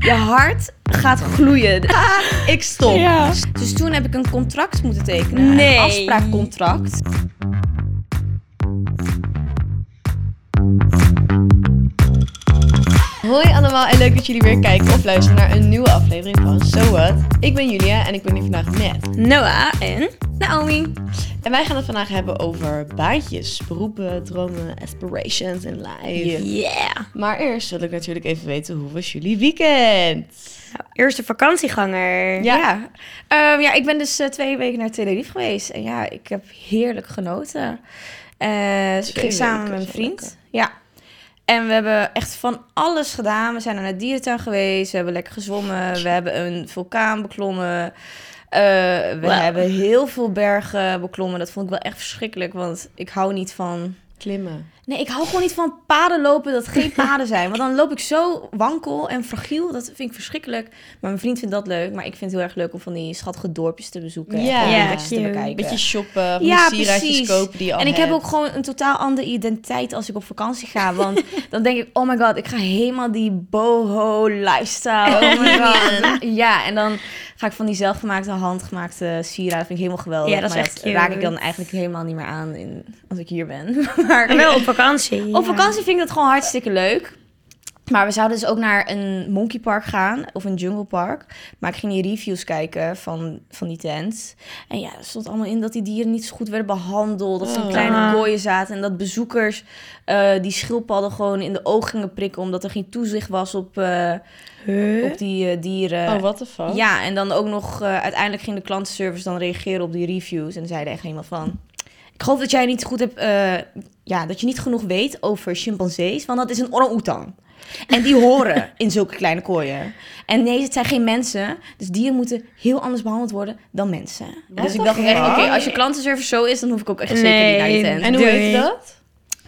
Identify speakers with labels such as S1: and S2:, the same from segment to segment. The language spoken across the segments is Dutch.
S1: Je hart gaat gloeien. Ah, ik stop.
S2: Ja.
S1: Dus toen heb ik een contract moeten tekenen.
S2: Nee.
S1: Een afspraakcontract.
S2: Hoi allemaal en leuk dat jullie weer kijken of luisteren naar een nieuwe aflevering van So What. Ik ben Julia en ik ben hier vandaag met.
S1: Noah en Naomi.
S2: En wij gaan het vandaag hebben over baantjes, beroepen, dromen, aspirations in life.
S1: Yeah.
S2: Maar eerst wil ik natuurlijk even weten hoe was jullie weekend?
S1: Eerste vakantieganger.
S2: Ja.
S1: Ja. Ehm, ja, ik ben dus eh, twee weken naar Tenerife geweest. En ja, ik heb heerlijk genoten. Eh, dus ik
S2: Twee
S1: ging samen
S2: weken,
S1: met een
S2: zo
S1: vriend.
S2: lekker.
S1: Ja. En we hebben echt van alles gedaan. We zijn naar de dierentuin geweest. We hebben lekker gezwommen. We hebben een vulkaan beklommen. Eh, we
S2: Wow.
S1: hebben heel veel bergen beklommen. Dat vond ik wel echt verschrikkelijk. Want ik hou niet van
S2: Klimmen.
S1: Nee, ik hou gewoon niet van paden lopen dat geen paden zijn. Want dan loop ik zo wankel en fragiel. Dat vind ik verschrikkelijk. Maar mijn vriend vindt dat leuk. Maar ik vind het heel erg leuk om van die schattige dorpjes te bezoeken.
S2: Ja.
S1: en
S2: Ja,
S1: gewoon plekjes te
S3: cute.
S1: bekijken.
S2: Een beetje shoppen, van die
S1: Ja,
S2: sieraadjes
S1: precies.
S2: kopen die je al
S1: en ik heb
S2: hebt.
S1: ook gewoon een totaal andere identiteit als ik op vakantie ga. Want dan denk ik, oh my god, ik ga helemaal die boho lifestyle. Oh my god. Ja, en dan ga ik van die zelfgemaakte, handgemaakte sieraden. vind ik helemaal geweldig.
S3: Ja, dat is
S1: maar
S3: echt
S1: dat raak ik
S3: cute.
S1: dan eigenlijk helemaal niet meer aan in, als ik hier ben. Maar
S3: En wel op vakantie.
S1: op
S3: ja.
S1: vakantie vind ik dat gewoon hartstikke leuk. Maar we zouden dus ook naar een monkeypark gaan of een junglepark. Maar ik ging die reviews kijken van, van die tent. En ja, er stond allemaal in dat die dieren niet zo goed werden behandeld. Dat ze in
S2: Oh.
S1: kleine
S3: Ah.
S1: kooien zaten. En dat bezoekers eh, die schildpadden gewoon in de ogen gingen prikken. Omdat er geen toezicht was op, eh,
S3: Huh?
S1: op die eh, dieren.
S2: Oh, what the fuck?
S1: Ja, en dan ook nog, eh, uiteindelijk ging de klantenservice dan reageren op die reviews. En zeiden echt helemaal van, ik geloof dat jij niet goed hebt, eh, ja, dat je niet genoeg weet over chimpansees. Want dat is een orang-oetan. En die horen in zulke kleine kooien. En nee, het zijn geen mensen. Dus dieren moeten heel anders behandeld worden dan mensen.
S2: What
S1: dus ik
S2: the
S1: dacht echt,
S2: fuck?
S1: oké, als je klantenservice zo is, dan hoef ik ook echt zeker niet
S3: Nee.
S1: naar die tent.
S2: En hoe
S3: Doei.
S2: heet dat?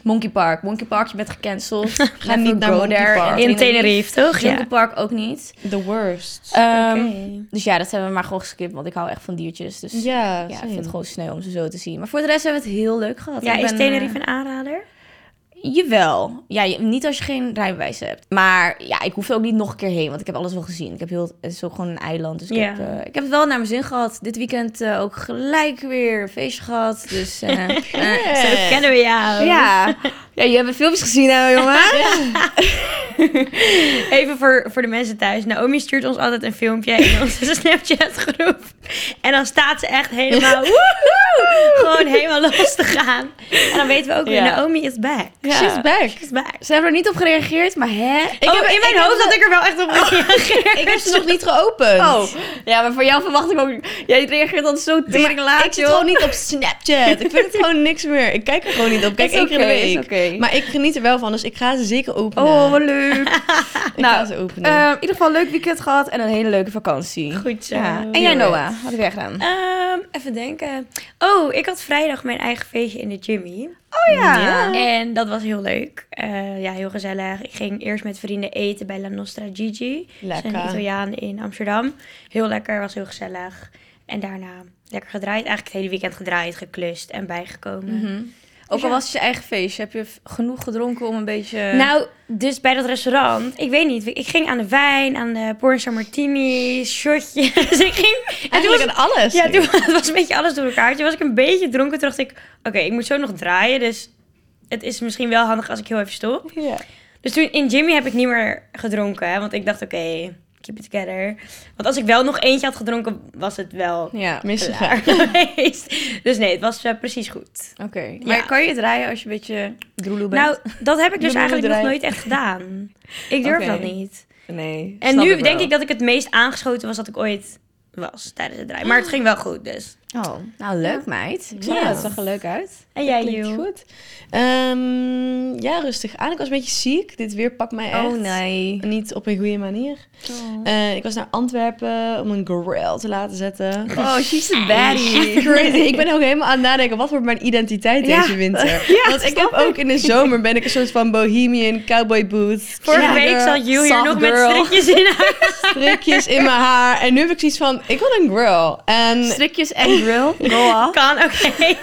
S1: Monkey Park. Monkey Park, je bent gecanceld. Ga
S2: niet naar Monkey Park.
S3: In Tenerife, toch? Ja.
S1: Jungle Park ook niet.
S2: The worst.
S1: Ehm,
S3: Oké.
S1: Dus ja, dat hebben we maar gewoon geskipt, want ik hou echt van diertjes. Dus ja,
S2: ja,
S1: ik
S2: same.
S1: vind het gewoon sneu om ze zo te zien. Maar voor de rest hebben we het heel leuk gehad.
S3: Ja,
S1: Ik
S3: is
S1: ben,
S3: Tenerife een aanrader?
S1: eh, jawel. Ja, je- niet als je geen rijbewijs hebt. Maar ja, ik hoef er ook niet nog een keer heen, want ik heb alles wel gezien. Ik heb heel, het is ook gewoon een eiland, dus ik,
S3: Ja.
S1: heb, eh, ik heb het wel naar mijn zin gehad. Dit weekend eh, ook gelijk weer een feestje gehad, dus... eh, eh,
S2: Eh,
S3: Zo kennen we jou.
S1: ja. ja, je hebt filmpjes gezien, hè, jongen?
S3: Even voor, voor de mensen thuis. Naomi stuurt ons altijd een filmpje in onze Snapchat-groep. En dan staat ze echt helemaal... woehoe, gewoon helemaal los te gaan. En dan weten we ook weer,
S2: Ja.
S3: Naomi is back.
S1: Ja.
S2: She's back.
S3: She's back.
S1: Ze hebben er niet op gereageerd, maar hè?
S3: Ik heb in mijn hoofd dat ik er wel echt op reageer.
S2: Ik heb ze nog niet geopend.
S1: Oh, ja, maar van jou verwacht ik ook... Jij reageert altijd zo tering laat,
S2: ik zit gewoon niet op Snapchat. Ik vind het gewoon niks meer. Ik kijk er gewoon niet op. Kijk
S1: Is
S2: één keer in de
S1: oké, is
S2: week.
S1: oké.
S2: Maar ik geniet er wel van, dus ik ga ze zeker openen.
S1: Oh, wat leuk.
S2: ik ga
S1: nou,
S2: ze openen.
S1: Eh, in ieder geval een leuk weekend gehad en een hele leuke vakantie.
S3: Goed zo.
S1: Ja. En jij, Noah, wat heb jij gedaan?
S3: Ehm, even denken. Oh, ik had vrijdag mijn eigen feestje in de Jimmy.
S1: Oh ja.
S3: En dat was heel leuk. Eh, ja, heel gezellig. Ik ging eerst met vrienden eten bij La Nostra Gigi. Dat is
S2: Lekker.
S3: Een Italiaan in Amsterdam. Heel lekker, was heel gezellig. En daarna lekker gedraaid. Eigenlijk het hele weekend gedraaid, geklust en bijgekomen.
S1: Ook al was het je eigen feestje, heb je v- genoeg gedronken om een beetje...
S3: Nou, dus bij dat restaurant, ik weet niet. Ik ging aan de wijn, aan de Borsa Martini, shotjes. ik ging... en toen was-
S2: Eigenlijk aan alles.
S3: Ja, toen was, was een beetje alles door elkaar. Toen was ik een beetje dronken. Toen dacht ik, oké, ik moet zo nog draaien. Dus het is misschien wel handig als ik heel even stop.
S2: Ja.
S3: Dus toen in Jimmy heb ik niet meer gedronken. Hè, want ik dacht, oké, keep it together. Want als ik wel nog eentje had gedronken, was het wel
S1: ja, oké.
S2: Misgegaan.
S3: klaar geweest. Dus nee, het was eh, precies goed.
S1: Maar kan je het rijden als je een beetje droeloe bent?
S3: Nou, dat heb ik dus
S2: Doe
S3: eigenlijk nog
S2: draaien.
S3: nooit echt gedaan. Ik durf
S1: Oké.
S3: dat niet.
S1: nee.
S3: En
S1: snap
S3: nu
S1: wel.
S3: denk ik dat ik het meest aangeschoten was dat ik ooit was tijdens het draaien. Maar
S1: Ah.
S3: het ging wel goed, dus.
S1: Oh, nou leuk meid. Ik zag
S2: Ja.
S1: het, het zag er leuk uit.
S3: En jij,
S2: Klinkt
S3: Joe?
S2: goed. Ehm, ja, rustig aan. Ik was een beetje ziek. Dit weer pakt mij echt.
S1: Oh nee. Oh.
S2: Niet op een goede manier. Eh, ik was naar Antwerpen om een grill te laten zetten.
S1: Oh, she's a baddie.
S2: Crazy. Ik ben ook helemaal aan het nadenken, wat wordt mijn identiteit
S1: Ja.
S2: deze winter? Want ik heb ook in de zomer ben ik een soort van bohemian cowboy boots.
S3: Vorige
S2: Ja. eh,
S3: week
S2: Girl,
S3: zat Joe hier
S2: soft
S3: nog
S2: girl.
S3: met strikjes in haar.
S2: strikjes in mijn haar. En nu heb ik zoiets van, ik wil een grill. En
S1: Strikjes en grill. Go off.
S3: Kan, oké.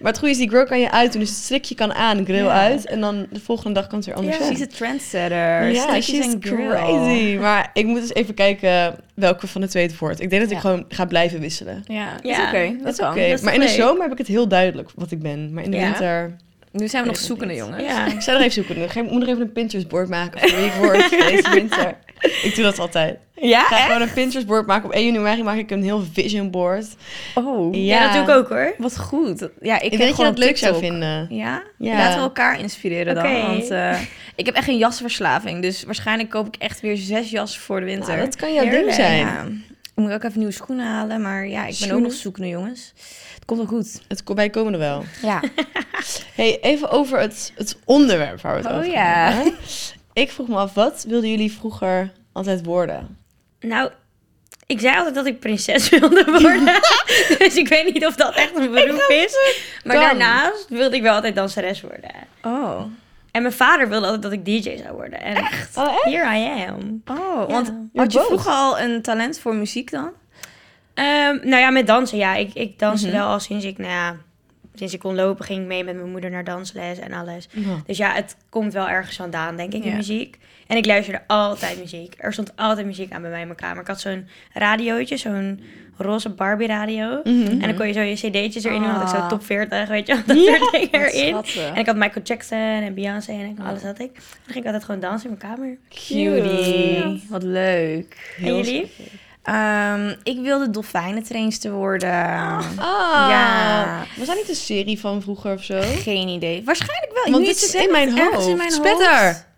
S2: Maar het goede is, die grill kan je uitdoen. Dus het strikje kan aan, grill
S1: Ja.
S2: uit. En dan de volgende dag kan het weer anders
S1: She's a
S2: zijn.
S1: trendsetter.
S2: Ja,
S1: Stukjes
S2: she's
S1: en grill.
S2: crazy. Maar ik moet eens even kijken welke van de twee het wordt. Ik denk dat ik
S1: Ja.
S2: gewoon ga blijven wisselen.
S1: Ja, dat is
S3: Ja,
S1: oké. Dat kan.
S2: Oké,
S3: dat is
S2: maar in de
S3: leuk.
S2: zomer heb ik het heel duidelijk wat ik ben. Maar in de
S1: Ja?
S2: winter...
S1: Nu zijn we
S2: Weet
S1: nog
S2: het
S1: zoekende,
S2: niet.
S1: jongens.
S3: Ja.
S2: Ik zou nog even zoeken. Ik ga- Ik moet nog even een Pinterest-board maken voor wie ik word deze winter. Ik doe dat altijd. Ik ga
S1: Ja,
S2: gewoon een Pinterest-board maken. Op 1 januari maak ik een heel vision board.
S1: Oh,
S3: Ja. dat doe ik ook hoor.
S1: wat goed. Ja, ik, heb
S2: Ik, denk dat je
S1: gewoon
S2: dat leuk zou
S1: TikTok.
S2: vinden.
S1: Ja?
S2: Ja.
S1: Laten we elkaar inspireren dan.
S3: Oké.
S1: Want eh, ik heb echt een jasverslaving. Dus waarschijnlijk koop ik echt weer zes jassen voor de winter.
S2: Nou, dat kan jouw ding
S3: Heerlijk.
S2: zijn.
S1: Ja. Ik moet ook even nieuwe schoenen halen. Maar ja, ik ben
S2: Schoenen?
S1: ook nog zoekende, jongens. Het komt wel goed.
S2: Het komt bij komende wel.
S1: Ja.
S2: Hey, even over het, het onderwerp waar we het
S1: Oh,
S2: over
S1: ja.
S2: hebben. Ik vroeg me af, wat wilden jullie vroeger altijd worden?
S3: Nou, ik zei altijd dat ik prinses wilde worden. dus ik weet niet of dat echt een beroep is. Maar
S2: kan.
S3: daarnaast wilde ik wel altijd danseres worden.
S1: Oh.
S3: En mijn vader wilde altijd dat ik DJ zou worden. En echt?
S2: Oh, echt?
S3: Here I am.
S1: Oh,
S3: Ja.
S1: want had je
S2: both.
S1: vroeger al een talent voor muziek dan?
S3: Ehm, nou ja, met dansen, ja. Ik, ik danste
S1: Mhm.
S3: wel al sinds ik, nou ja, sinds ik kon lopen, ging ik mee met mijn moeder naar dansles en alles.
S1: Oh,
S2: Ja.
S3: Dus ja, het komt wel ergens vandaan, denk ik,
S1: Ja.
S3: in muziek. En ik luisterde altijd muziek. Er stond altijd muziek aan bij mij in mijn kamer. Ik had zo'n radiootje, zo'n roze Barbie radio. En dan kon je zo je cd'tjes erin doen. Dan had ik zo
S1: Ah.
S3: top 40, weet je wel, dat soort dingen erin. En ik had Michael Jackson en Beyoncé en ik- alles had ik. Dan ging ik altijd gewoon dansen in mijn kamer.
S1: Cutie. Wat leuk.
S3: en jullie?
S1: Ehm, ik wilde dolfijnentrainster worden.
S2: Ah,
S1: Ja.
S2: was dat niet een serie van vroeger of zo?
S1: Geen idee. Waarschijnlijk wel.
S2: Want
S1: Nu
S2: dit
S1: je het
S2: zit in
S1: zegt,
S2: mijn
S1: ergens in
S2: hoofd.
S1: mijn
S2: Spetter.
S1: hoofd.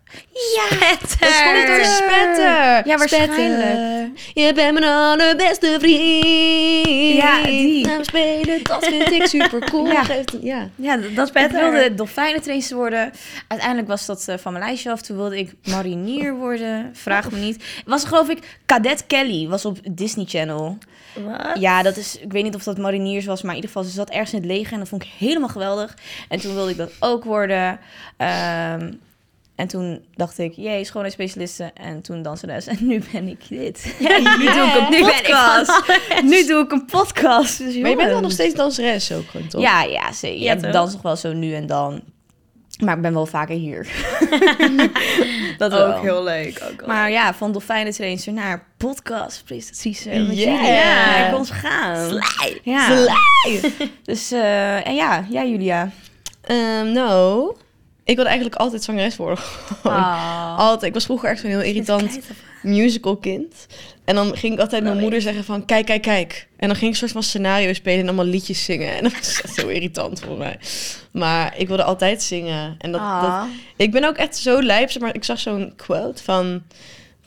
S1: Ja.
S2: Dat komt door Spetter.
S1: Ja, waarschijnlijk.
S2: Spetter. Je bent mijn allerbeste vriend.
S1: Ja, die.
S2: Laten we spelen, dat vind ik super cool.
S1: Ja.
S2: Ja. ja.
S1: Ja, d- dat ik
S3: Spetter.
S1: wilde dolfijnentrainster worden. Uiteindelijk was dat eh, van mijn lijstje af. Toen wilde ik marinier worden. Vraag me niet. Het was geloof ik Cadet Kelly. Was op Disney Channel.
S3: Wat?
S1: Ja, dat is. Ik weet niet of dat mariniers was, maar in ieder geval ze zat ergens in het leger en dat vond ik helemaal geweldig. En toen wilde ik dat ook worden. Ehm, en toen dacht ik, jee, schoonheidsspecialisten. En toen danseres. En nu ben ik dit. nu doe ik een
S3: Nu ben ik
S1: podcast. Nu doe ik een podcast. Dus
S2: Maar je bent wel
S1: jongens.
S2: nog steeds danseres ook gewoon, toch?
S1: Ja, ja, zeker.
S3: Ja,
S1: ik
S3: toch?
S1: dans nog wel zo nu en dan. Maar ik ben wel vaker hier. dat wel.
S3: Ook heel leuk. Ook wel
S1: Maar ja, van dolfijnentrainster naar podcast, prestaties met
S2: Yeah.
S1: jullie. Ja, ik kon ze gaan. Ja. Dus, eh, en ja, jij Julia.
S2: Ehm, nou, ik wilde eigenlijk altijd zangeres worden. gewoon.
S1: Ah. Oh.
S2: Altijd. Ik was vroeger echt zo'n heel irritant musical kind. En dan ging ik altijd mijn moeder zeggen van kijk, kijk, kijk. En dan ging ik een soort van scenario spelen en allemaal liedjes zingen. En dat was echt heel irritant voor mij. Maar ik wilde altijd zingen. En dat,
S1: Ah.
S2: dat, ik ben ook echt zo lijp, zeg maar ik zag zo'n quote van,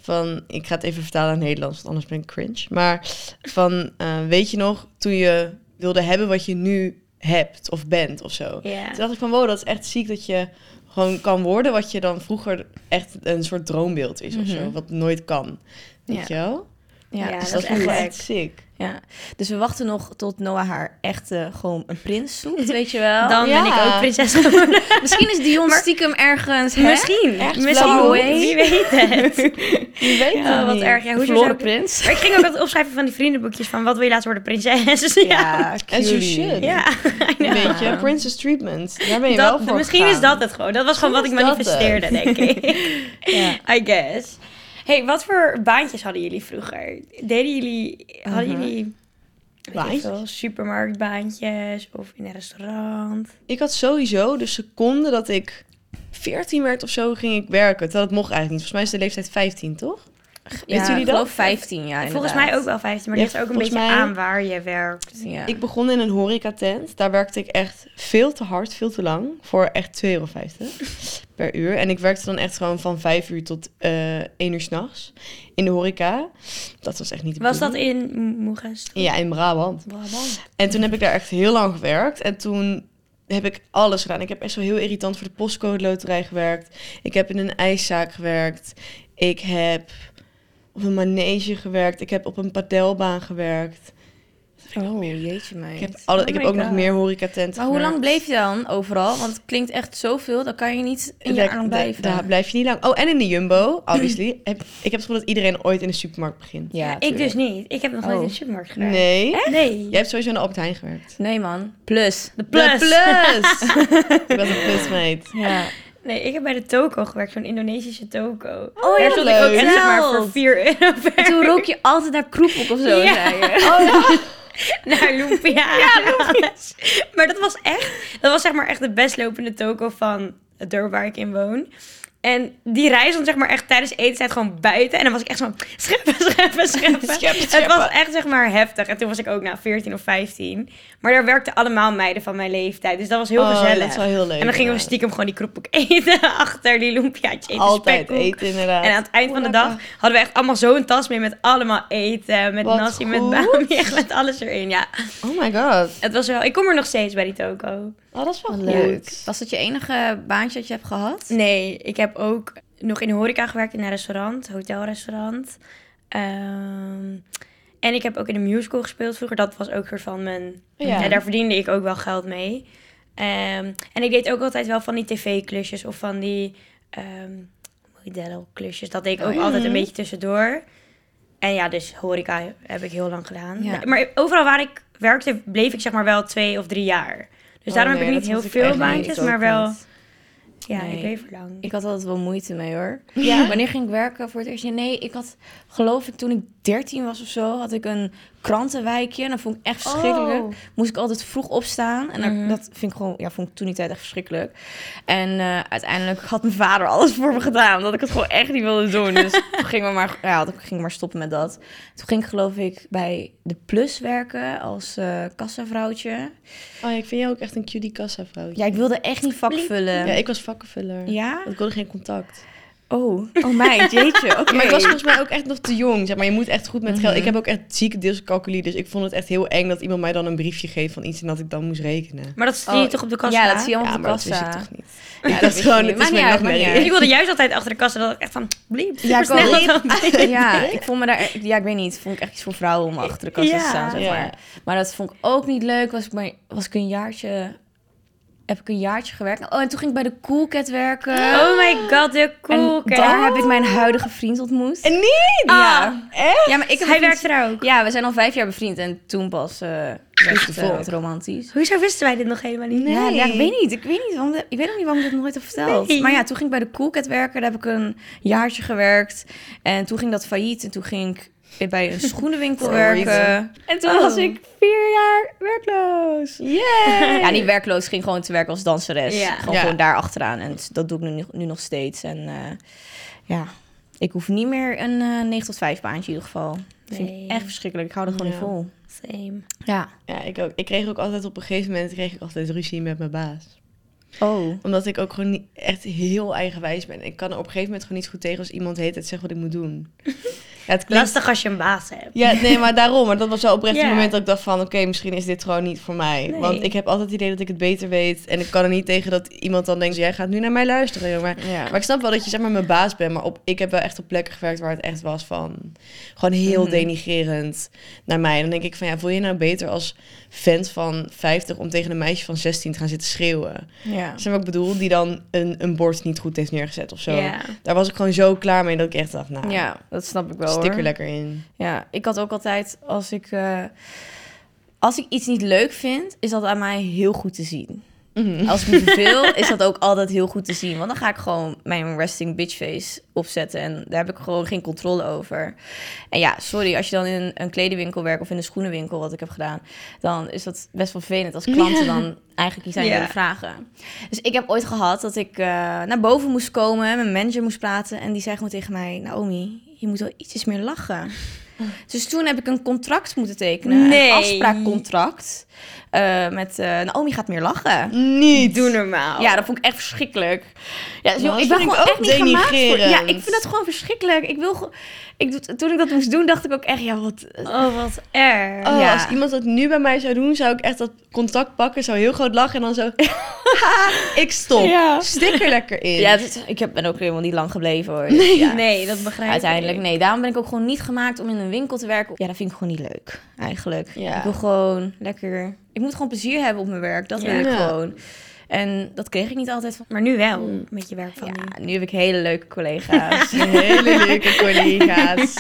S2: van... Ik ga het even vertalen in het Nederlands, want anders ben ik cringe. Maar van, eh, weet je nog, toen je wilde hebben wat je nu hebt of bent of zo.
S3: Ja.
S2: Toen dacht ik van, wow, dat is echt ziek dat je gewoon kan worden... wat je dan vroeger echt een soort droombeeld is of zo, wat nooit kan. Weet je wel?
S1: ja.
S3: Mhm. Ja.
S1: Ja.
S2: dus
S3: dat
S2: dat,
S3: is
S2: is
S3: echt
S2: wel
S3: gek.
S2: echt sick.
S1: Dus we wachten nog tot Noah haar echt eh, gewoon een prins zoekt, weet je wel.
S3: Dan ben
S2: Ja.
S3: ik ook prinses geworden.
S1: misschien is Dion stiekem ergens, hè?
S3: Misschien.
S2: Echt
S3: Misschien.
S2: blauw.
S3: Wie weet het.
S2: Je weet
S3: Ja,
S2: het
S3: wat
S2: niet.
S3: erg. Ja, hoezo
S1: Verloren
S3: zou ik-
S1: prins.
S3: Maar ik ging ook altijd opschrijven van die vriendenboekjes van wat wil je laten worden prinses. Ja.
S2: En zo
S1: cutie.
S2: shit.
S3: Ja, I know.
S2: Weet je, Princess Treatment. Daar ben je wel
S3: Dat,
S2: voor
S3: misschien is
S2: gegaan.
S3: dat het gewoon. Dat was gewoon
S2: Misschien
S3: wat ik
S2: is dat
S3: manifesteerde, denk ik. I guess. hey, wat voor baantjes hadden jullie vroeger? Deden jullie, hadden
S1: Mhm.
S3: jullie weet ik
S2: Eh, Baantjes?
S3: veel, supermarktbaantjes of in een restaurant?
S2: Ik had sowieso de seconde dat ik 14 werd of zo, ging ik werken. Terwijl dat mocht eigenlijk niet. Volgens mij is de leeftijd 15, toch?
S1: Ja,
S2: jullie
S1: ik
S2: dat?
S1: geloof 15 jaar
S3: Volgens mij ook wel 15, maar
S2: Ja,
S3: ligt er ook een beetje
S2: volgens mij-
S3: aan waar je werkt.
S1: Ja.
S2: Ik begon in een horecatent. Daar werkte ik echt veel te hard, veel te lang. Voor echt 2,50 euro per uur. En ik werkte dan echt gewoon van 5 uur tot eh 1 uur s'nachts in de horeca. Dat was echt niet de
S3: Was dat
S2: bedoeling.
S3: in Moeges?
S2: Ja, in Brabant. En toen heb ik daar echt heel lang gewerkt. En toen heb ik alles gedaan. Ik heb echt zo heel irritant voor de postcode loterij gewerkt. Ik heb in een ijszaak gewerkt. Ik heb op een manege gewerkt. Ik heb op een padelbaan gewerkt.
S1: Oh, jeetje mij.
S2: Ik heb, alle, ik heb ook nog meer horecatenten.
S1: Maar hoe lang
S2: gemerkt.
S1: bleef je dan overal? Want het klinkt echt zoveel, dan kan je niet een jaar
S2: Daar-
S1: lang
S2: daar-
S1: blijven.
S2: Daar blijf je niet lang. Oh, en in de Jumbo, obviously. Heb- ik heb het gevoel dat iedereen ooit in de supermarkt begint.
S1: ja,
S3: ik dus
S1: tuurlijk.
S3: niet. Ik heb nog nooit
S1: Oh.
S3: in de supermarkt gedaan.
S2: Nee.
S3: Nee.
S2: Jij hebt sowieso in de Albert Heijn gewerkt.
S1: Nee, man. Plus.
S3: De
S2: De
S3: plus.
S2: plus. ik was een plusmeid.
S1: Ja.
S3: Nee, ik heb bij de toko gewerkt, zo'n Indonesische toko.
S1: Oh,
S3: Daar
S1: ja,
S3: stond
S2: leuk.
S3: ik ook echt zeg maar voor
S1: Verteld.
S3: 4 euro per
S1: En toen rook je altijd naar kroephoek of zo,
S3: Ja.
S1: zei je. Oh,
S3: naar Lumpia. Alles. Maar dat was echt, dat was zeg maar echt de best lopende toko van het dorp waar ik in woon. En die reis dan zeg maar echt tijdens etenstijd gewoon buiten. En dan was ik echt zo van scheppen, scheppen, scheppen.
S2: Schep,
S3: Het
S2: scheppen.
S3: was echt zeg maar heftig. En toen was ik ook nou 14 of 15. Maar daar werkten allemaal meiden van mijn leeftijd. Dus dat was heel
S2: Oh,
S3: gezellig.
S2: dat is wel heel leuk,
S3: En dan gingen we
S2: ja.
S3: stiekem gewoon die kroephoek eten achter die lumpiaatjes eten.
S2: Altijd
S3: spekkoek.
S2: eten, inderdaad.
S3: En aan het eind van de dag hadden we echt allemaal zo'n tas mee met allemaal eten. Met
S2: Wat
S3: nasi, met
S2: goed.
S3: bami, echt met alles erin. Ja,
S2: Oh my god.
S3: het was wel... Ik kom er nog steeds bij die toko.
S2: Oh, dat is wel
S1: Leuk.
S2: goed.
S1: Was dat je enige baantje dat je hebt gehad?
S3: Nee, ik heb ook nog in de horeca gewerkt in een restaurant, hotelrestaurant. Ehm, en ik heb ook in een musical gespeeld vroeger. Dat was ook soort van mijn...
S2: Ja.
S3: Ja. daar verdiende ik ook wel geld mee. Ehm, en ik deed ook altijd wel van die tv-klusjes of van die ehm modelklusjes. Dat
S2: Oh,
S3: deed ik ook altijd een beetje tussendoor. En ja, dus horeca heb ik heel lang gedaan.
S1: Ja.
S3: Maar overal waar ik werkte, bleef ik zeg maar wel twee of drie jaar.
S2: Oh,
S3: Dus daarom
S2: nee, dat
S3: heb ik niet heel
S2: had ik echt
S3: veel
S2: niet.
S3: baantjes,
S2: Ik ook
S3: maar wel...
S2: niet.
S3: Ja,
S1: Nee.
S3: ik bleef er lang.
S1: Ik had altijd wel moeite mee hoor.
S3: Ja?
S1: Wanneer ging ik werken voor het eerst? Ja, Nee, ik had, geloof ik, toen ik 13 was of zo, had ik een krantenwijkje. En dat vond ik echt verschrikkelijk.
S3: Oh.
S1: Moest ik altijd vroeg opstaan. En daar-
S2: Mhm.
S1: dat vind ik gewoon, ja, vond ik toen die tijd echt verschrikkelijk. En eh, uiteindelijk had mijn vader alles voor me gedaan, omdat ik het gewoon echt niet wilde doen. Dus toen ging we maar, ja, toen ging ik maar stoppen met dat. Toen ging ik, geloof ik, bij de Plus werken als eh kassavrouwtje.
S2: Oh, ja, ik vind jou ook echt een cutie kassa vrouwtje.
S1: Ja, ik wilde echt niet vak vullen.
S2: Ja, ik was vakkenvuller.
S1: Ja?
S2: Want ik wilde geen contact.
S1: Oh, oh meid, jeetje. Oké.
S2: Maar ik was volgens mij ook echt nog te jong. Zeg maar je moet echt goed met
S1: Mhm.
S2: geld. Ik heb ook echt ziek dyscalculie. Dus ik vond het echt heel eng dat iemand mij dan een briefje geeft van iets en dat ik dan moest rekenen.
S3: Maar dat zie
S1: Oh,
S3: je toch op de kassa?
S1: Ja, dat zie je allemaal
S2: ja,
S1: op de
S2: maar dat
S1: kassa.
S2: wist ik toch niet.
S1: Ja,
S2: ik
S1: dat
S2: dacht
S1: wist
S2: gewoon,
S1: je niet.
S2: het is
S1: Maakt niet
S2: mijn
S1: uit, maakt niet
S2: nachtmerrie.
S1: uit.
S3: Ik wilde juist altijd achter de kassa dat ik echt van bliep,
S1: Ja, ik
S3: supersnel
S1: ook.
S3: dan bliep.
S1: Ja, ik vond me daar echt- ja, ik weet niet, vond ik echt iets voor vrouwen om achter de kassa te
S3: Ja.
S1: staan, zeg
S2: Ja.
S1: maar. Maar dat vond ik ook niet leuk. Was ik maar was ik een jaartje heb ik een jaartje gewerkt. Oh, en toen ging ik bij de Cool Cat werken.
S3: Oh my god, de cool
S1: en daar heb ik mijn huidige vriend ontmoet.
S2: En niet!
S1: Ah. ja.
S2: Echt?
S1: ja, maar ik heb
S3: Ah. Hij
S1: een vriend-
S3: werkt er ook.
S1: Ja, we zijn al vijf jaar bevriend en toen pas eh werd het eh,
S2: volk.
S1: wat romantisch.
S3: Hoezo wisten wij dit nog helemaal niet?
S2: Nee.
S1: Ja, ja, ik weet niet. Ik weet niet waarom. de- ik weet nog niet waarom ik dat nooit heb verteld.
S3: Nee.
S1: Maar ja, toen ging ik bij de Coolcat werken. Daar heb ik een jaartje gewerkt. En toen ging dat failliet. En toen ging ik weer bij een schoenenwinkel
S2: For a
S1: werken. Oh. En toen was ik vier jaar werkloos.
S2: Yeah!
S1: Ja, niet werkloos. Ging gewoon te werken als danseres.
S3: Ja.
S1: Gewoon,
S2: Ja.
S1: gewoon daar achteraan. En dat doe ik nu, nu nog steeds. En eh, ja, ik hoef niet meer een eh 9 tot 5 baantje in ieder geval. Dat vind
S3: Nee.
S1: ik echt verschrikkelijk. Ik hou er gewoon
S2: Ja.
S1: niet vol.
S3: Same.
S1: Ja.
S2: Ja, ik ook. Ik kreeg ook altijd op een gegeven moment kreeg ik altijd ruzie met mijn baas.
S1: Oh.
S2: Omdat ik ook gewoon niet, echt heel eigenwijs ben. Ik kan er op een gegeven moment gewoon niet goed tegen als iemand heet het zegt wat ik moet doen. Ja, het klinkt...
S3: Lastig als je een baas hebt.
S2: Ja, nee, maar daarom. Maar dat was wel oprecht
S3: Ja.
S2: het moment dat ik dacht van... oké, misschien is dit gewoon niet voor mij.
S3: Nee.
S2: Want ik heb altijd het idee dat ik het beter weet. En ik kan er niet tegen dat iemand dan denkt... jij gaat nu naar mij luisteren, jongen.
S1: Ja.
S2: Maar ik snap wel dat je zeg maar mijn baas bent. Maar op, ik heb wel echt op plekken gewerkt waar het echt was van... gewoon heel
S3: Mhm.
S2: denigrerend naar mij. En dan denk ik van ja, voel je nou beter als vent van 50... om tegen een meisje van 16 te gaan zitten schreeuwen?
S1: Ja.
S2: Snap je wat ik bedoel? Die dan een, een bord niet goed heeft neergezet of zo.
S3: Ja.
S2: Daar was ik gewoon zo klaar mee dat ik echt dacht... nou,
S1: Ja, dat snap ik wel
S2: stik
S1: hoor.
S2: er lekker in.
S1: Ja, ik had ook altijd als ik eh, als ik iets niet leuk vind, is dat aan mij heel goed te zien. Als ik me verveel, is dat ook altijd heel goed te zien. Want dan ga ik gewoon mijn resting bitch face opzetten. En daar heb ik gewoon geen controle over. En ja, sorry, als je dan in een kledingwinkel werkt of in een schoenenwinkel, wat ik heb gedaan, dan is dat best wel vervelend als klanten dan eigenlijk iets aan je
S3: Ja.
S1: willen vragen. Dus ik heb ooit gehad dat ik eh, naar boven moest komen, mijn manager moest praten. En die zei gewoon tegen mij: Naomi, je moet wel ietsjes meer lachen. Dus toen heb ik een contract moeten tekenen.
S3: Nee.
S1: Een afspraakcontract. eh, met eh Naomi gaat meer lachen.
S2: Niet!
S3: Doe normaal.
S1: Ja, dat vond ik echt verschrikkelijk. Ja, dus, joh,
S2: dat
S1: ik ben
S2: vind ik
S1: gewoon
S2: ook
S1: echt niet gemaakt voor... Ja, ik
S2: denigrerend.
S1: vind dat gewoon verschrikkelijk. Ik wil... ge- Ik, doe- toen ik dat moest doen, dacht ik ook echt... Ja, wat...
S3: Oh, wat erg.
S2: Oh,
S1: Ja.
S2: als iemand dat nu bij mij zou doen, zou ik echt dat contact pakken, zou heel groot lachen en dan zo. "Haha, ik stop.
S1: Ja.
S2: Stik er lekker in.
S1: dus Ja, het is- ik heb, ben ook helemaal niet lang gebleven, hoor. Nee.
S3: Nee, dat begrijp ik.
S1: Uiteindelijk, nee. Daarom ben ik ook gewoon niet gemaakt om in een winkel te werken. Ja, dat vind ik gewoon niet leuk, eigenlijk.
S2: Ja.
S1: Ik wil gewoon lekker... Ik moet gewoon plezier hebben op mijn werk. Dat wil ik
S2: Ja.
S1: gewoon. En dat kreeg ik niet altijd van...
S3: Maar nu wel, met je werk van die.
S1: Mm. Ja, nu heb ik hele leuke collega's.
S2: Hele leuke collega's.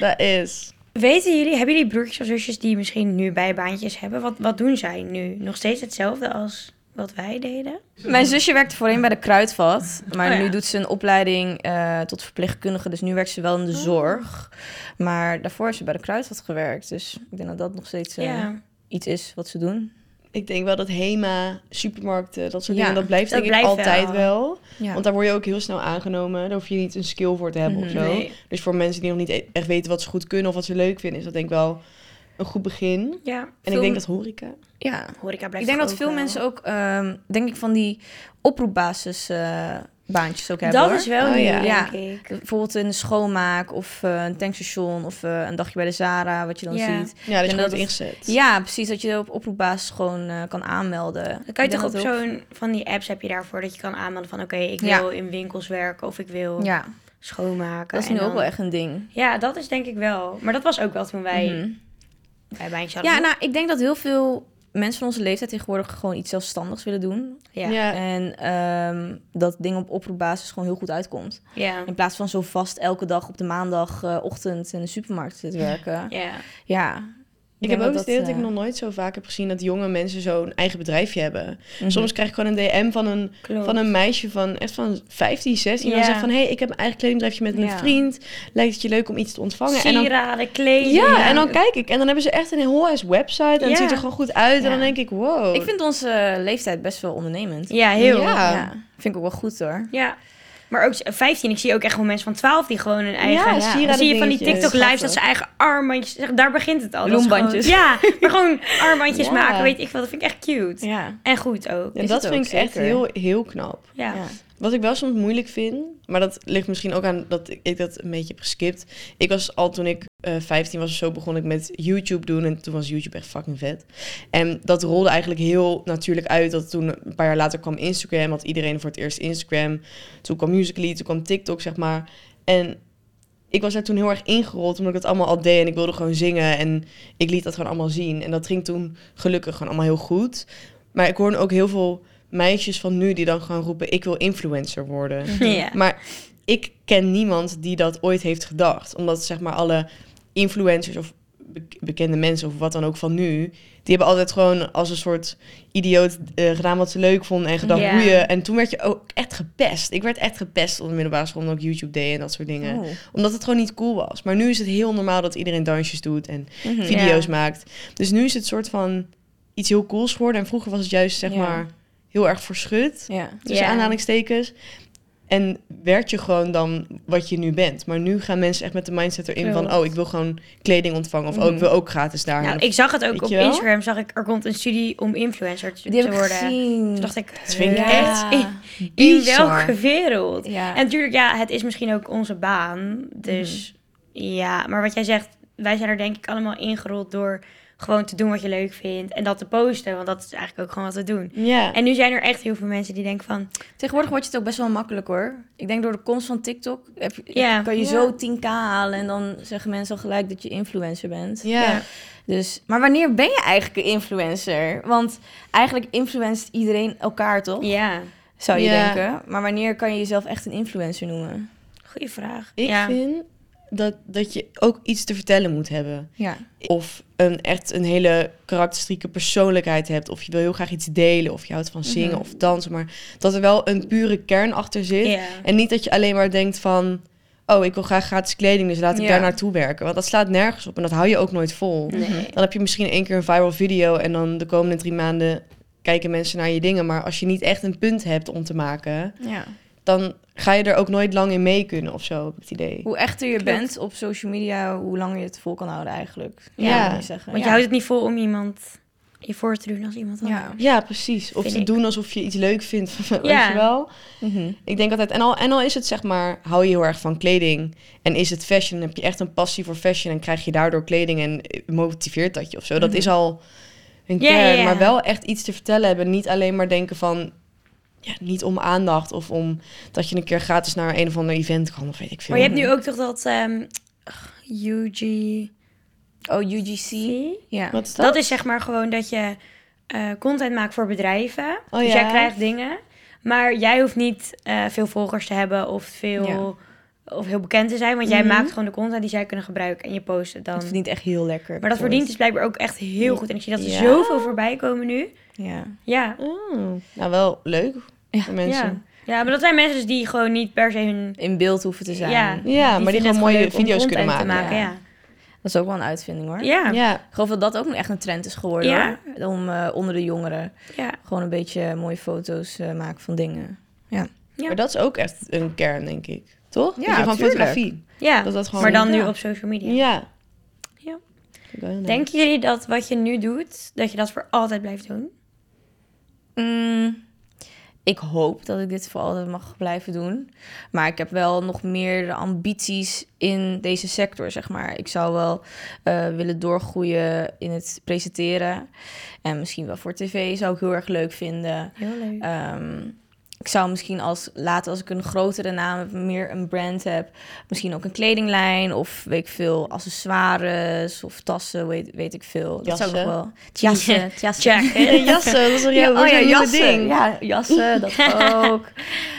S2: Dat is.
S3: Weten jullie, hebben jullie broertjes of zusjes die misschien nu bijbaantjes hebben? Wat, wat doen zij nu? Nog steeds hetzelfde als wat wij deden?
S1: Mijn zusje werkte voorheen bij de kruidvat. Maar
S3: Oh ja.
S1: nu doet ze een opleiding eh, tot verpleegkundige. Dus nu werkt ze wel in de zorg. Maar daarvoor heeft ze bij de kruidvat gewerkt. Dus ik denk dat dat nog steeds eh,
S3: ja.
S1: iets is wat ze doen.
S2: Ik denk wel dat Hema, supermarkten, dat soort
S1: Ja,
S2: dingen, dat blijft
S3: dat
S2: denk
S3: blijft
S2: ik altijd
S3: wel.
S2: wel.
S1: Ja.
S2: Want daar word je ook heel snel aangenomen. Daar hoef je niet een skill voor te hebben
S1: Mhm.
S2: of zo.
S3: Nee.
S2: Dus voor mensen die nog niet e- echt weten wat ze goed kunnen of wat ze leuk vinden, is dat denk ik wel een goed begin. En
S3: Ja,
S1: Veel-
S2: ik denk dat horeca.
S1: ja.
S3: horeca blijft
S1: Ik denk
S3: toch
S1: dat veel
S3: wel.
S1: mensen ook, ehm, denk ik, van die oproepbasis eh, baantjes ook hebben.
S3: Dat
S1: hoor.
S3: is wel
S2: Oh,
S3: nieuw,
S2: ja.
S1: Ja.
S3: denk ik.
S1: Bijvoorbeeld een schoonmaak of eh, een tankstation of eh, een dagje bij de Zara, wat je dan
S3: Ja.
S1: ziet.
S2: Ja, dat
S1: En
S2: je
S1: dat
S2: wordt
S1: het-
S2: ingezet.
S1: Ja, precies. Dat je op oproepbasis gewoon eh, kan aanmelden.
S3: Dan
S1: Ik
S3: kan je
S1: denk
S3: toch
S1: dat
S3: op
S1: heel-
S3: zo'n van die apps heb je daarvoor dat je kan aanmelden van oké, ik
S1: Ja.
S3: wil in winkels werken of ik wil
S1: Ja,
S3: schoonmaken.
S1: dat is
S3: en
S1: nu ook
S3: dan-
S1: wel echt een ding.
S3: Ja, dat is denk ik wel. Maar dat was ook wel toen wij
S1: Mhm.
S3: bij Baantje hadden.
S1: Ja, nou, ik denk dat heel veel mensen van onze leeftijd tegenwoordig gewoon iets zelfstandigs willen doen.
S3: ja.
S2: Ja.
S3: Ja.
S1: En ehm, dat ding op oproepbasis gewoon heel goed uitkomt.
S3: Ja.
S1: In plaats van zo vast elke dag op de maandagochtend in de supermarkt te werken. Ja.
S2: Ik
S1: denk
S2: heb ook
S1: dat
S2: het idee dat
S1: dat,
S2: ik
S1: eh,
S2: nog nooit zo vaak heb gezien dat jonge mensen zo'n eigen bedrijfje hebben. Soms krijg ik gewoon een DM van een,
S3: Klopt.
S2: van een meisje van echt van 15, 16. En
S3: Oh. Ja.
S2: dan zegt van, hé, hey, ik heb een eigen kledingbedrijfje met mijn
S1: Ja.
S2: vriend. Lijkt het je leuk om iets te ontvangen? En dan,
S3: Sieraden, kleding.
S2: ja, en dan kijk ik. En dan hebben ze echt een heel ass website. En
S3: Ja.
S2: het ziet er gewoon goed uit.
S1: Ja.
S2: En dan denk ik, wow.
S1: Ik vind onze leeftijd best wel ondernemend.
S3: Ja, heel. Ja.
S2: Ja.
S1: Vind ik ook wel goed hoor.
S3: Maar ook 15, ik zie ook echt gewoon mensen van 12 die gewoon hun eigen...
S2: ja,
S1: ja.
S2: sieraden
S3: Dan zie je van die
S2: dingetjes.
S3: TikTok lives dat
S1: Schattig.
S3: ze eigen armbandjes... zeg, Daar begint het al. Dat is
S1: Bloembandjes.
S3: gewoon- ja, maar gewoon armbandjes
S2: Ja.
S3: maken, weet ik wel. Dat vind ik echt cute.
S1: Ja.
S3: En goed ook.
S2: Ja,
S1: Is
S2: dat
S1: het
S2: vind
S1: ook,
S2: ik echt
S1: zeker.
S2: heel, heel knap.
S3: Ja.
S1: Ja.
S2: Wat ik wel soms moeilijk vind, maar dat ligt misschien ook aan dat ik- ik dat een beetje heb geskipt. Ik was al toen ik eh 15 was of zo, begon ik met YouTube doen. En toen was YouTube echt fucking vet. En dat rolde eigenlijk heel natuurlijk uit. Dat toen een paar jaar later kwam Instagram, had iedereen voor het eerst Instagram. Toen kwam Musical.ly, toen kwam TikTok, zeg maar. En ik was daar toen heel erg ingerold, omdat ik dat allemaal al deed. En ik wilde gewoon zingen en ik liet dat gewoon allemaal zien. En dat ging toen gelukkig gewoon allemaal heel goed. Maar ik hoorde ook heel veel meisjes van nu die dan gewoon roepen... ik wil influencer worden.
S3: Ja.
S2: Maar ik ken niemand die dat ooit heeft gedacht. Omdat zeg maar alle influencers of bek- bekende mensen of wat dan ook van nu... die hebben altijd gewoon als een soort idioot eh, gedaan wat ze leuk vonden... en gedacht
S3: Ja.
S2: hoe je... En toen werd je ook echt gepest. Ik werd echt gepest op de middelbare school... omdat ik YouTube deed en dat soort dingen.
S1: Oh.
S2: Omdat het gewoon niet cool was. Maar nu is het heel normaal dat iedereen dansjes doet... en
S1: Mhm.
S3: Vind-
S2: video's
S3: Hm. Ja.
S2: maakt. Dus nu is het soort van iets heel cools geworden. En vroeger was het juist, zeg
S1: Ja.
S2: maar, heel erg verschut.
S1: Ja.
S2: Tussen
S3: Ja.
S2: aanhalingstekens. En werd je gewoon dan wat je nu bent. Maar nu gaan mensen echt met de mindset erin
S3: Klopt.
S2: van... oh, ik wil gewoon kleding ontvangen. Of oh,
S1: Mhm.
S2: ik wil ook gratis daar.
S3: Nou, ik zag het ook
S2: Weet
S3: op
S2: je wel?
S3: Instagram. Zag ik, er komt een studie om influencer te,
S1: Die
S3: te
S1: heb ik
S3: worden.
S1: gezien.
S3: Toen dacht ik,
S2: Dat vind ik
S3: ja.
S2: echt
S3: in, in
S2: bizar.
S3: welke wereld?
S1: Ja.
S3: En natuurlijk, ja, het is misschien ook onze baan. Dus
S1: Mhm.
S3: ja, maar wat jij zegt, wij zijn er denk ik allemaal ingerold door gewoon te doen wat je leuk vindt en dat te posten, want dat is eigenlijk ook gewoon wat we doen.
S2: Ja.
S3: En nu zijn er echt heel veel mensen die denken van,
S1: Tegenwoordig wordt je het ook best wel makkelijk hoor. Ik denk door de komst van TikTok heb, je-
S3: Ja.
S1: kan je
S2: Ja.
S1: zo 10k halen en dan zeggen mensen al gelijk dat je influencer bent.
S2: ja.
S3: Ja.
S1: Dus, maar wanneer ben je eigenlijk een influencer? Want eigenlijk influenst iedereen elkaar toch?
S3: ja,
S1: Zou je
S2: Ja.
S1: denken. Maar wanneer kan je jezelf echt een influencer noemen?
S3: goede vraag.
S2: Ik
S3: ja.
S2: vind dat, dat je ook iets te vertellen moet hebben.
S1: Ja.
S2: Of een, echt een hele karakteristieke persoonlijkheid hebt. Of je wil heel graag iets delen. Of je houdt van zingen
S1: Mhm.
S2: of dansen. Maar dat er wel een pure kern achter zit.
S3: Ja.
S2: En niet dat je alleen maar denkt van... Oh, ik wil graag gratis kleding, dus laat ik
S1: Ja.
S2: daar naartoe werken. Want dat slaat nergens op en dat hou je ook nooit vol.
S3: Nee.
S2: Dan heb je misschien één keer een viral video en dan de komende drie maanden kijken mensen naar je dingen. Maar als je niet echt een punt hebt om te maken,
S1: ja.
S2: dan ga je er ook nooit lang in mee kunnen of zo, heb ik het idee.
S1: Hoe echter je
S3: Klopt.
S1: bent op social media, hoe langer je het vol kan houden eigenlijk.
S2: Ja.
S1: kan je zeggen.
S3: Want je
S1: Ja.
S3: houdt het niet vol om iemand je voor te doen als iemand anders.
S1: Ja.
S2: Ja, precies. Of
S3: Vind
S2: te
S3: ik.
S2: doen alsof je iets leuk vindt, weet
S3: Ja.
S2: je wel?
S1: Mhm.
S2: Ik denk altijd, en al, en al is het zeg maar, hou je heel erg van kleding en is het fashion, heb je echt een passie voor fashion en krijg je daardoor kleding en eh, motiveert dat je of zo. Dat
S1: Mhm.
S2: is al een
S3: Ja,
S2: kern,
S3: ja, ja.
S2: maar wel echt iets te vertellen hebben. Niet alleen maar denken van, ja, niet om aandacht of om dat je een keer gratis naar een of ander event kan of weet ik veel.
S3: Maar je hebt nu ook toch dat ehm UG...
S1: Oh, UGC. Ja.
S2: Wat is dat?
S3: Dat is zeg maar gewoon dat je eh, content maakt voor bedrijven.
S2: Oh
S3: dus
S2: ja?
S3: jij krijgt dingen. Maar jij hoeft niet eh, veel volgers te hebben of veel... Of heel bekend te zijn, want jij
S2: Mhm.
S3: maakt gewoon de content die zij kunnen gebruiken en je post het dan.
S1: Dat verdient echt heel lekker.
S3: Maar dat
S1: voor
S3: verdient dus blijkbaar ook echt heel goed. En ik zie dat er
S2: Ja.
S3: zoveel voorbij komen nu.
S1: het. Ja.
S3: Ja.
S2: Oh, nou, wel leuk
S1: Ja.
S2: voor mensen.
S3: Ja. ja, maar dat zijn mensen dus die gewoon niet per se hun...
S1: In beeld hoeven te zijn.
S2: Ja,
S3: Ja.
S2: maar die
S3: vinden
S2: gewoon
S3: het
S2: mooie
S3: leuk om
S2: video's kunnen
S3: content
S2: maken.
S3: te ja.
S1: Dat is ook wel een uitvinding hoor.
S3: Ja.
S2: Ja.
S3: Ja.
S2: Ja.
S1: Ik geloof dat dat ook echt een trend is geworden.
S3: Ja.
S1: hoor. Om eh, onder de jongeren
S3: ja.
S1: gewoon een beetje mooie foto's eh, maken van dingen.
S3: Ja.
S2: maar dat is ook echt een kern, denk ik. Toch?
S1: Ja,
S2: dat je gewoon
S1: tuurlijk.
S2: fotografie. Dat dat gewoon...
S3: Maar dan
S2: Ja.
S3: nu op social media.
S2: Ja.
S3: Ja.
S2: Vind ik wel heel leuk.
S3: Denken jullie dat wat je nu doet, dat je dat voor altijd blijft doen?
S1: Mm, ik hoop dat ik dit voor altijd mag blijven doen. Maar ik heb wel nog meer ambities in deze sector, zeg maar. Ik zou wel eh, willen doorgroeien in het presenteren. En misschien wel voor tv zou ik heel erg leuk vinden.
S3: Heel leuk.
S1: Ehm, ik zou misschien als later, als ik een grotere naam heb, meer een brand heb, misschien ook een kledinglijn of weet ik veel, accessoires of tassen, weet, weet ik veel. Dat zou ik nog
S2: Jassen.
S1: wel. Jassen, jassen.
S3: eh, Check.
S2: En Eh, jassen, dat is toch jouw
S1: oh ja, jassen.
S2: ding?
S1: Ja, jassen, dat ook.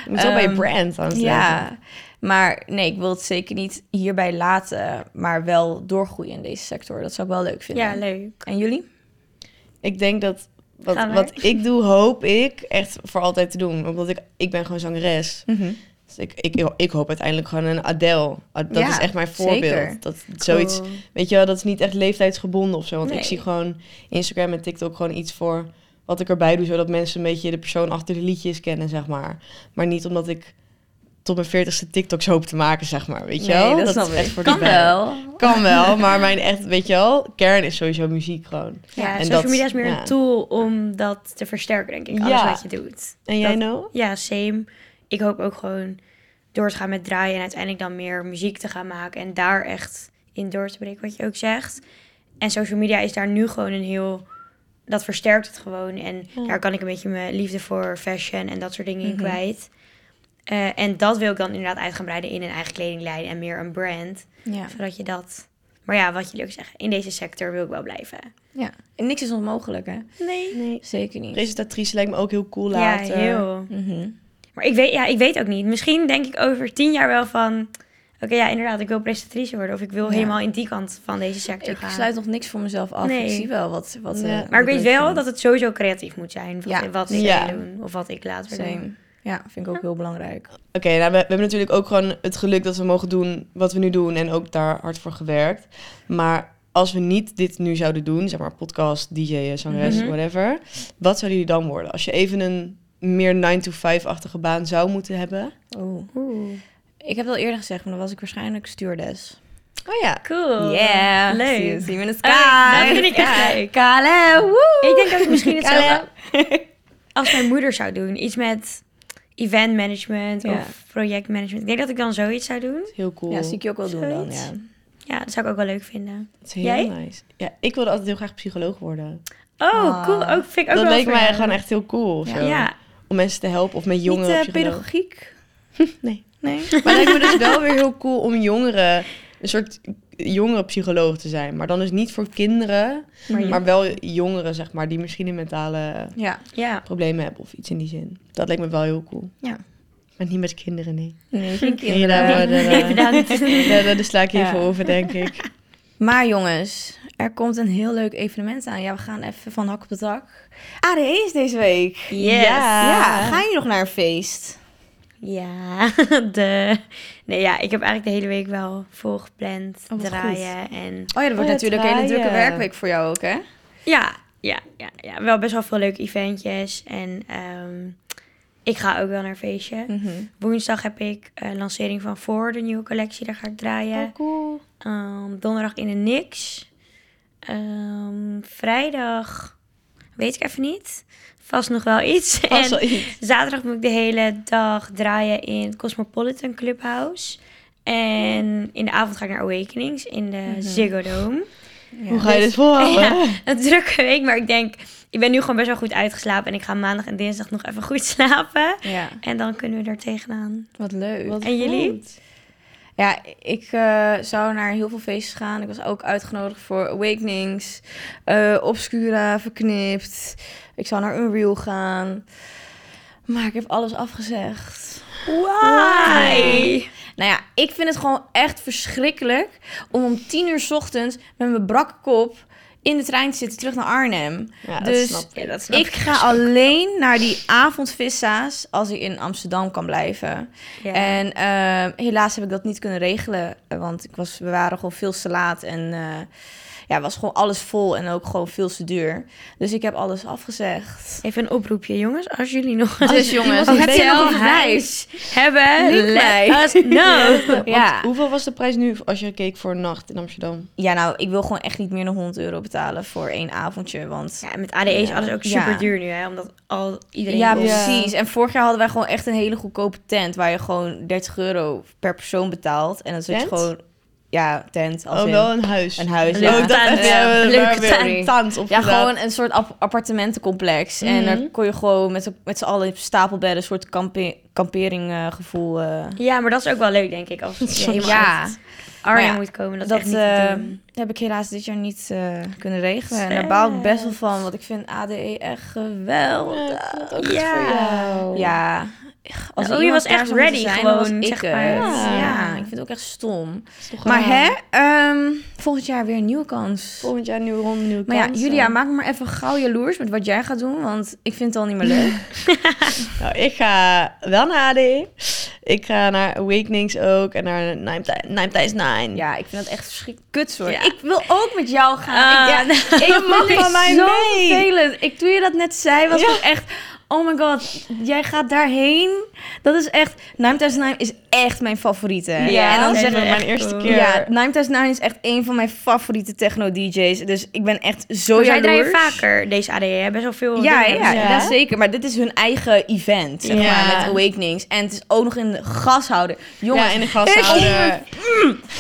S2: Je moet wel bij je
S1: Ehm,
S2: brand aansluiten.
S1: ja, maar nee, ik wil het zeker niet hierbij laten, maar wel doorgroeien in deze sector. Dat zou ik wel leuk vinden.
S3: Ja, leuk.
S1: En jullie?
S2: Ik denk dat wat,
S3: Gaan we?
S2: wat ik doe, hoop ik echt voor altijd te doen. Omdat ik, ik ben gewoon zangeres.
S1: Mhm.
S2: Dus ik, ik, ik hoop uiteindelijk gewoon een Adele. Ad- Dat
S1: Ja,
S2: is echt mijn voorbeeld.
S1: zeker.
S2: Dat zoiets, weet je wel, dat is niet echt leeftijdsgebonden of zo. Want
S3: Nee.
S2: ik zie gewoon Instagram en TikTok gewoon iets voor wat ik erbij doe. Zodat mensen een beetje de persoon achter de liedjes kennen, zeg maar. Maar niet omdat ik tot mijn veertigste TikToks hoop te maken, zeg maar. Weet je wel?
S1: Nee, dat,
S2: is
S1: snap
S2: echt
S1: ik.
S2: voor
S1: Kan
S2: die band.
S1: wel.
S2: Kan wel, maar mijn echt, weet je wel, kern is sowieso muziek gewoon.
S3: Ja,
S2: en
S3: social
S2: dat-
S3: media is meer
S2: ja.
S3: een tool om dat te versterken, denk ik. Alles
S2: Ja.
S3: wat je doet.
S2: En jij
S3: Dat-
S2: nou?
S3: Ja, same. Ik hoop ook gewoon door te gaan met draaien en uiteindelijk dan meer muziek te gaan maken en daar echt in door te breken, wat je ook zegt. En social media is daar nu gewoon een heel. Dat versterkt het gewoon. En daar kan ik een beetje mijn liefde voor fashion en dat soort dingen in kwijt. Eh, en dat wil ik dan inderdaad uit gaan breiden in een eigen kledinglijn en meer een brand.
S1: Ja.
S3: Zodat je dat. Maar ja, wat jullie ook zeggen, in deze sector wil ik wel blijven.
S1: ja. En niks is onmogelijk, hè?
S3: Nee.
S2: Nee.
S1: Zeker niet.
S2: Presentatrice lijkt me ook heel cool
S3: Ja,
S2: later.
S3: heel.
S1: Mhm.
S3: Maar ik weet, ja, ik weet ook niet. Misschien denk ik over tien jaar wel van... Oké, ja, inderdaad, ik wil presentatrice worden. Of ik wil
S1: Ja.
S3: helemaal in die kant van deze sector
S1: Ik
S3: gaan.
S1: sluit nog niks voor mezelf af.
S3: Nee.
S1: Ik zie wel wat. wat eh,
S2: Ja.
S1: wat
S3: maar ik weet
S1: leuk
S3: wel
S1: vind.
S3: dat het sowieso creatief moet zijn. Wat,
S1: Ja.
S3: wat ik
S2: Ja.
S3: doen. Of wat ik later
S1: Same.
S3: doen.
S1: Ja, vind ik ook heel belangrijk.
S2: Oké, nou, we, we hebben natuurlijk ook gewoon het geluk dat we mogen doen wat we nu doen en ook daar hard voor gewerkt. Maar als we niet dit nu zouden doen, zeg maar podcast, DJ, zangeres,
S3: Mhm.
S2: whatever, wat zouden jullie dan worden? Als je even een meer 9-to-5-achtige baan zou moeten hebben.
S1: Oh. Ik heb het al eerder gezegd, maar dan was ik waarschijnlijk stuurdes.
S2: Oh ja.
S3: Cool.
S1: Yeah.
S3: Leuk.
S1: See you, see you in the sky.
S3: Oh, dat vind ik echt leuk.
S1: Kale, woe.
S3: Ik denk dat ik misschien hetzelfde
S1: Kale.
S3: als mijn moeder zou doen. Iets met event management
S1: Ja.
S3: of project management. Ik denk dat ik dan zoiets zou doen.
S2: Heel cool.
S1: Ja, zie ik je ook wel doen dan,
S3: Zoiets.
S1: ja.
S3: Ja, dat zou ik ook wel leuk vinden.
S2: Dat is heel
S3: Jij?
S2: nice. Ja, ik wilde altijd heel graag psycholoog worden.
S3: Oh,
S1: Ah.
S3: cool. Ook, vind ik ook
S2: dat
S3: wel
S2: leek
S3: voor
S2: mij
S3: jou.
S2: gewoon echt heel cool. of
S1: Ja.
S2: zo.
S3: Ja,
S2: Om mensen te helpen of met jongeren.
S1: Niet eh,
S2: psycholoog.
S1: pedagogiek?
S2: Nee.
S1: Nee.
S2: Maar het lijkt me dus wel weer heel cool om jongeren, een soort jongere psycholoog te zijn. Maar dan dus niet voor kinderen,
S3: maar je-
S2: maar wel jongeren, zeg maar, die misschien een mentale
S1: Ja.
S3: ja.
S2: problemen hebben of iets in die zin. Dat lijkt me wel heel cool.
S1: Ja.
S2: Maar niet met kinderen, nee.
S1: Nee, geen
S2: Nee,
S1: kinderen.
S2: daar- daar-
S3: Nee, bedankt.
S2: Ja, daar daar sla ik even
S1: Ja.
S2: over, denk ik.
S1: Maar jongens, er komt een heel leuk evenement aan. Ja, we gaan even van hak op de tak. ADE is deze week.
S3: Yes.
S1: Ja.
S2: Ja.
S1: ga je nog naar een feest?
S3: Ja, de... Nee, ja, ik heb eigenlijk de hele week wel volgepland,
S1: wat
S3: draaien en...
S1: Oh ja, dat wordt
S2: ja,
S1: natuurlijk een hele
S2: draaien.
S1: drukke werkweek voor jou ook, hè?
S3: Ja, ja, ja, ja, wel best wel veel leuke eventjes en ehm, ik ga ook wel naar een feestje.
S1: Hm. Mhm.
S3: Woensdag heb ik eh, lancering van Voor, de nieuwe collectie, daar ga ik draaien.
S1: Oh.
S2: cool.
S3: Ehm, donderdag in de Niks. Ehm, vrijdag weet ik even niet. Vast nog wel iets.
S2: Vast wel
S3: En
S2: iets.
S3: zaterdag moet ik de hele dag draaien in het Cosmopolitan
S1: Mhm.
S3: Clubhouse. En in de avond ga ik naar Awakenings in de Ziggo Dome.
S2: Hoe ga je
S1: Dus-
S2: dit volhouden?
S3: Ja, een drukke week, maar ik denk, ik ben nu gewoon best wel goed uitgeslapen. En ik ga maandag en dinsdag nog even goed slapen.
S1: Ja,
S3: En dan kunnen we er tegenaan.
S1: wat leuk.
S2: Wat
S3: En jullie?
S2: goed.
S1: Ja, ik eh, zou naar heel veel feestjes gaan. Ik was ook uitgenodigd voor Awakenings, eh, Obscura, Verknipt. Ik zou naar Unreal gaan. Maar ik heb alles afgezegd.
S3: Why?
S1: Nou ja, ik vind het gewoon echt verschrikkelijk om om tien uur 's ochtends met mijn brakke kop in de trein te zitten terug naar Arnhem.
S2: Ja, dat
S1: dus
S2: snap
S3: Ja, dat snap
S1: ik ga alleen naar die avondvissa's als ik in Amsterdam kan blijven.
S3: Ja.
S1: En ehm, helaas heb ik dat niet kunnen regelen, eh, want ik was, we waren gewoon veel te laat en eh, ja, was gewoon alles vol en ook gewoon veel te duur. Dus ik heb alles afgezegd.
S3: Even een oproepje, jongens. Als jullie nog een
S1: Dus jongens,
S2: iemand
S1: heb je
S3: hotel
S1: nog een
S3: huis
S1: reis?
S3: hebben,
S1: Niet
S3: let
S1: mij.
S3: us know.
S1: Ja.
S2: Hoeveel was de prijs nu als je keek voor een nacht in Amsterdam?
S1: ja, nou, ik wil gewoon echt niet meer dan 100 euro betalen voor één avondje, want...
S3: Ja, met ADE is alles ook
S1: Ja.
S3: super duur nu, hè? Omdat al iedereen.
S1: Ja,
S3: wil-
S2: precies.
S1: precies. En vorig jaar hadden wij gewoon echt een hele goedkope tent waar je gewoon 30 euro per persoon betaalt. En dan zit je
S2: Tent?
S1: gewoon, ja, tent. Als
S2: oh,
S1: in
S2: wel een huis.
S1: een huis.
S3: Een
S1: ja.
S2: Oh, ik dacht
S3: Leuke
S2: echt,
S3: tent.
S2: ja, we-
S1: Leuke
S2: waar weer
S1: tent.
S2: een tent op
S1: Ja,
S2: gedaan.
S1: gewoon een soort ap- appartementencomplex. En daar
S2: Mhm.
S1: kon je gewoon met, z'n- met z'n allen op stapelbedden, een soort kampe eh, kamperinggevoel.
S3: Ja, maar dat is ook wel leuk, denk ik. Als het
S2: Ja,
S3: helemaal
S1: ja,
S3: uit Arnhem
S1: Maar ja,
S3: moet komen. Dat,
S1: dat,
S3: is echt niet te
S1: eh,
S3: doen.
S1: heb ik helaas dit jaar niet eh, kunnen regelen. En daar baal ik best wel van, want ik vind ADE echt
S2: Ja,
S1: geweldig.
S2: ik vond het ook
S3: Ja.
S2: goed voor jou.
S1: Ja.
S3: Oh,
S1: er
S3: je
S1: iemand
S3: was
S1: daar
S3: echt
S1: zou moeten
S3: ready
S1: zijn,
S3: gewoon,
S1: dan was ik
S3: zeg
S1: het.
S3: maar.
S1: Ja.
S2: Ja.
S1: ik vind het ook echt stom.
S2: Is toch
S1: Maar
S2: raar.
S1: hè, ehm, volgend jaar weer een nieuwe kans.
S2: Volgend jaar nieuwe ronde, nieuwe
S1: Maar ja,
S2: kansen.
S1: Julia, maak me maar even gauw jaloers met wat jij gaat doen, want ik vind het al niet meer leuk.
S2: Nou, ik ga wel naar AD. Ik ga naar Awakenings ook en naar Nine Ti- Nine Times Nine.
S1: Ja, ik vind dat echt verschrikkelijk. Kutsoort.
S3: Ja.
S1: Ik wil ook met jou gaan.
S3: Ah,
S1: ik, ja, ik mag
S2: van mij
S1: zo
S2: mee.
S1: vervelend. Ik, toen je dat net zei, was
S2: Ja.
S1: ik echt... Oh my god, jij gaat daarheen. Dat is echt... Nine Times Nine is echt mijn favoriete.
S2: Ja,
S1: en dan
S2: dat is
S1: zeg ik...
S2: mijn
S3: echt
S2: eerste
S3: cool.
S2: keer.
S1: Ja, Nine Times Nine is echt een van mijn favoriete techno-dj's. Dus ik ben echt zo
S3: Maar zij
S1: jaloers.
S3: draaien vaker deze ADE, hè? best wel veel.
S1: Ja,
S3: dingen.
S1: ja,
S2: Ja.
S1: dat zeker. Maar dit is hun eigen event, zeg
S2: Ja.
S1: maar, met Awakenings. En het is ook nog in de gashouder. Jongens,
S2: Ja, in de gashouder.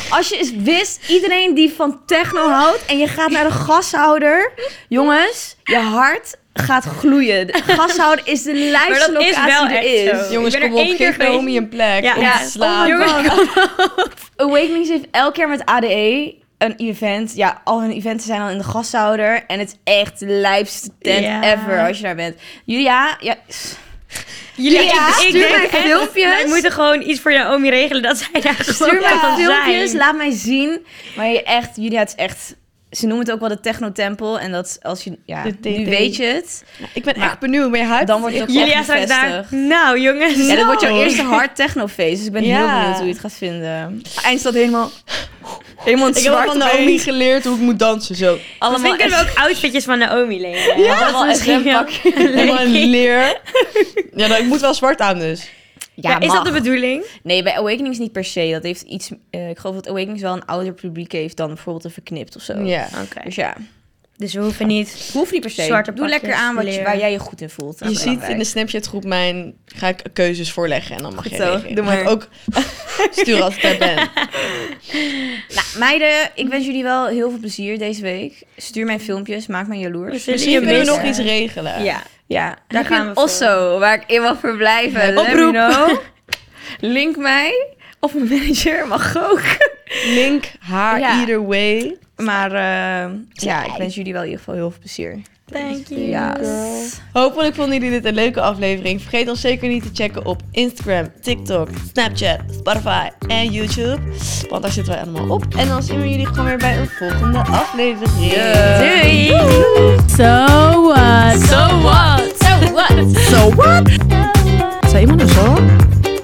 S1: Als je eens wist, iedereen die van techno houdt en je gaat naar de gashouder. Jongens, je hart gaat gloeien. De gashouder is de
S3: Maar dat
S1: lijfste
S3: is
S1: locatie
S3: wel
S1: die er
S3: echt
S1: is.
S3: zo.
S2: Jongens,
S3: Ik ben
S2: kom
S3: er
S2: op,
S3: één keer
S2: geef
S3: geweest.
S2: Naomi een plek
S3: Ja.
S2: om
S3: Ja.
S2: te slaan.
S1: Oh my
S3: Jongens,
S1: Awakenings heeft elk jaar met ADE een event. Ja, al hun eventen zijn al in de gashouder. En het is echt de lijpste tent
S3: Ja.
S1: ever als je daar bent. Julia, ja...
S3: Jullie,
S1: Ja,
S3: ik, ik
S1: stuur
S3: denk
S1: mij
S3: echt,
S1: filmpjes.
S3: Wij moeten gewoon iets voor Naomi regelen dat zij daar gewoon
S1: Stuur mij
S3: kan
S1: filmpjes,
S3: zijn.
S1: laat mij zien. Maar je echt, Julia, het is echt... Ze noemen het ook wel de technotempel. En dat is als je... Ja,
S2: De TT.
S1: nu weet je het.
S2: Ik ben
S1: Maar-
S2: echt benieuwd. Ben je hyped?
S1: Dan wordt het ook
S3: Julia
S1: echt
S3: staat daar.
S1: bevestigd.
S3: Nou, jongens.
S1: Ja, dat wordt jouw
S2: Zo.
S1: eerste hard technofeest. Dus ik ben heel
S2: Ja.
S1: benieuwd hoe je het gaat vinden. Eind staat helemaal... Helemaal in het
S2: Ik heb
S1: zwart
S2: al van Naomi geleerd hoe ik moet dansen. Zo.
S1: Allemaal
S3: Misschien kunnen we ook outfitjes van Naomi lenen.
S1: Ja, dat is
S3: misschien wel
S1: pakje.
S2: Helemaal een
S3: leuk.
S2: leer. Ja, dan, ik moet wel zwart aan dus.
S1: Ja,
S3: Ja, is
S1: mag.
S3: dat de bedoeling?
S1: Nee, bij Awakenings niet per se. Dat heeft iets... eh, ik geloof dat Awakenings wel een ouder publiek heeft dan bijvoorbeeld een Verknipt of zo.
S2: Ja.
S3: Oké.
S1: Dus ja,
S3: Dus we hoeven niet.
S1: hoeft niet per se.
S3: Zwarte
S1: Doe
S3: pakjes,
S1: lekker aan wat je,
S3: leer.
S1: waar jij je goed in voelt. Dat
S2: Je
S1: is
S2: ziet in de
S1: belangrijk.
S2: Snapchat groep mijn... Ga ik keuzes voorleggen en dan mag
S1: Goed
S2: je
S1: zo,
S2: reageren.
S1: doe
S2: ik
S1: maar.
S2: ook stuur als ik daar ben.
S1: Nou, meiden, ik wens jullie wel heel veel plezier deze week. Stuur mijn filmpjes, maak mij jaloers.
S3: Zullen
S2: Misschien kunnen we
S3: missen?
S2: nog iets regelen.
S3: Ja.
S1: Ja,
S3: Daar
S1: daar
S3: gaan
S1: gaan
S3: we
S1: we
S3: voor.
S1: Osso, waar ik in mag verblijven. Let me
S2: Oproep.
S1: know. Link mij. Of mijn manager mag ook.
S2: Link haar
S1: Ja.
S2: either way.
S1: Maar eh, ja, ik wens jullie wel in ieder geval heel veel plezier.
S3: Thank you.
S1: Ja.
S2: Hopelijk vonden jullie dit een leuke aflevering. Vergeet ons zeker niet te checken op Instagram, TikTok, Snapchat, Spotify en YouTube. Want daar zitten wij allemaal op. En dan zien we jullie gewoon weer bij een volgende aflevering.
S1: Doei.
S4: So what? So what? So what? So what? Zou iemand een zo?